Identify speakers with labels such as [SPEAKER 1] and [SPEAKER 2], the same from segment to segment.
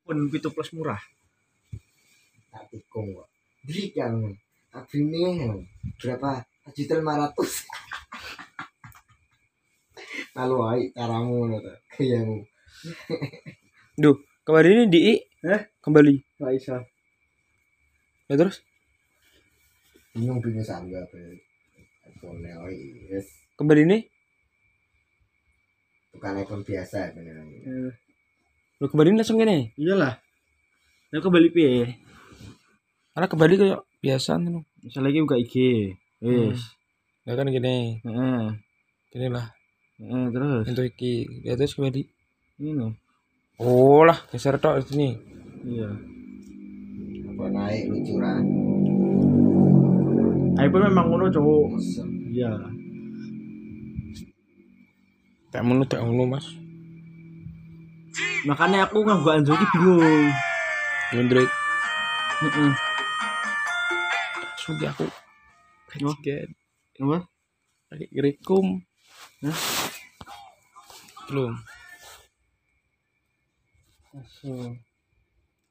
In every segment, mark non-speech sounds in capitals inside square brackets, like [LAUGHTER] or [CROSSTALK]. [SPEAKER 1] pun pitu plus murah.
[SPEAKER 2] Tapi kok berikan agreement berapa? Juta lima ratus. [LAUGHS] Lalu ayo caramu ngono ta, gayamu.
[SPEAKER 3] Duh, kemarin ini di
[SPEAKER 1] Eh?
[SPEAKER 3] kembali.
[SPEAKER 1] Gak bisa.
[SPEAKER 3] Ya terus
[SPEAKER 2] Bingung bingung sambil apa. ya. iPhone oi, yes.
[SPEAKER 3] kembali ini?
[SPEAKER 2] Bukan iPhone biasa benar.
[SPEAKER 1] Eh,
[SPEAKER 3] Lu kembali langsung gini.
[SPEAKER 1] iyalah. Ya kembali piye?
[SPEAKER 3] Karena kembali kayak biasa nih.
[SPEAKER 1] Misalnya lagi buka IG. Wis.
[SPEAKER 3] Ya kan gini.
[SPEAKER 1] Heeh.
[SPEAKER 3] Gini lah.
[SPEAKER 1] Heeh, terus
[SPEAKER 3] Untuk iki. Ya terus kembali.
[SPEAKER 1] ini.
[SPEAKER 3] Oh lah, geser tok di sini.
[SPEAKER 1] Iya.
[SPEAKER 2] Apa naik lucuran.
[SPEAKER 1] iPhone memang ngono, cowok.
[SPEAKER 2] Awesome.
[SPEAKER 1] Iya.
[SPEAKER 3] Tak mulu tak mulu mas.
[SPEAKER 1] Makanya aku nggak buka Android bingung.
[SPEAKER 3] Android.
[SPEAKER 1] Heeh.
[SPEAKER 3] Sudah aku.
[SPEAKER 1] Oh.
[SPEAKER 3] Kajikan.
[SPEAKER 1] Apa?
[SPEAKER 3] Pakai gerikum.
[SPEAKER 1] Hah?
[SPEAKER 3] Belum.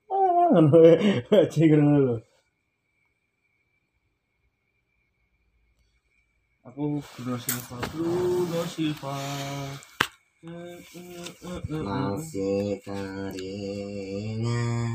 [SPEAKER 1] Ah, ngono ya. [LAUGHS] Aja ngono lho. Aku Bruno Silva, Bruno Silva. Eh, eh, eh, eh, eh.
[SPEAKER 2] Masih keringan.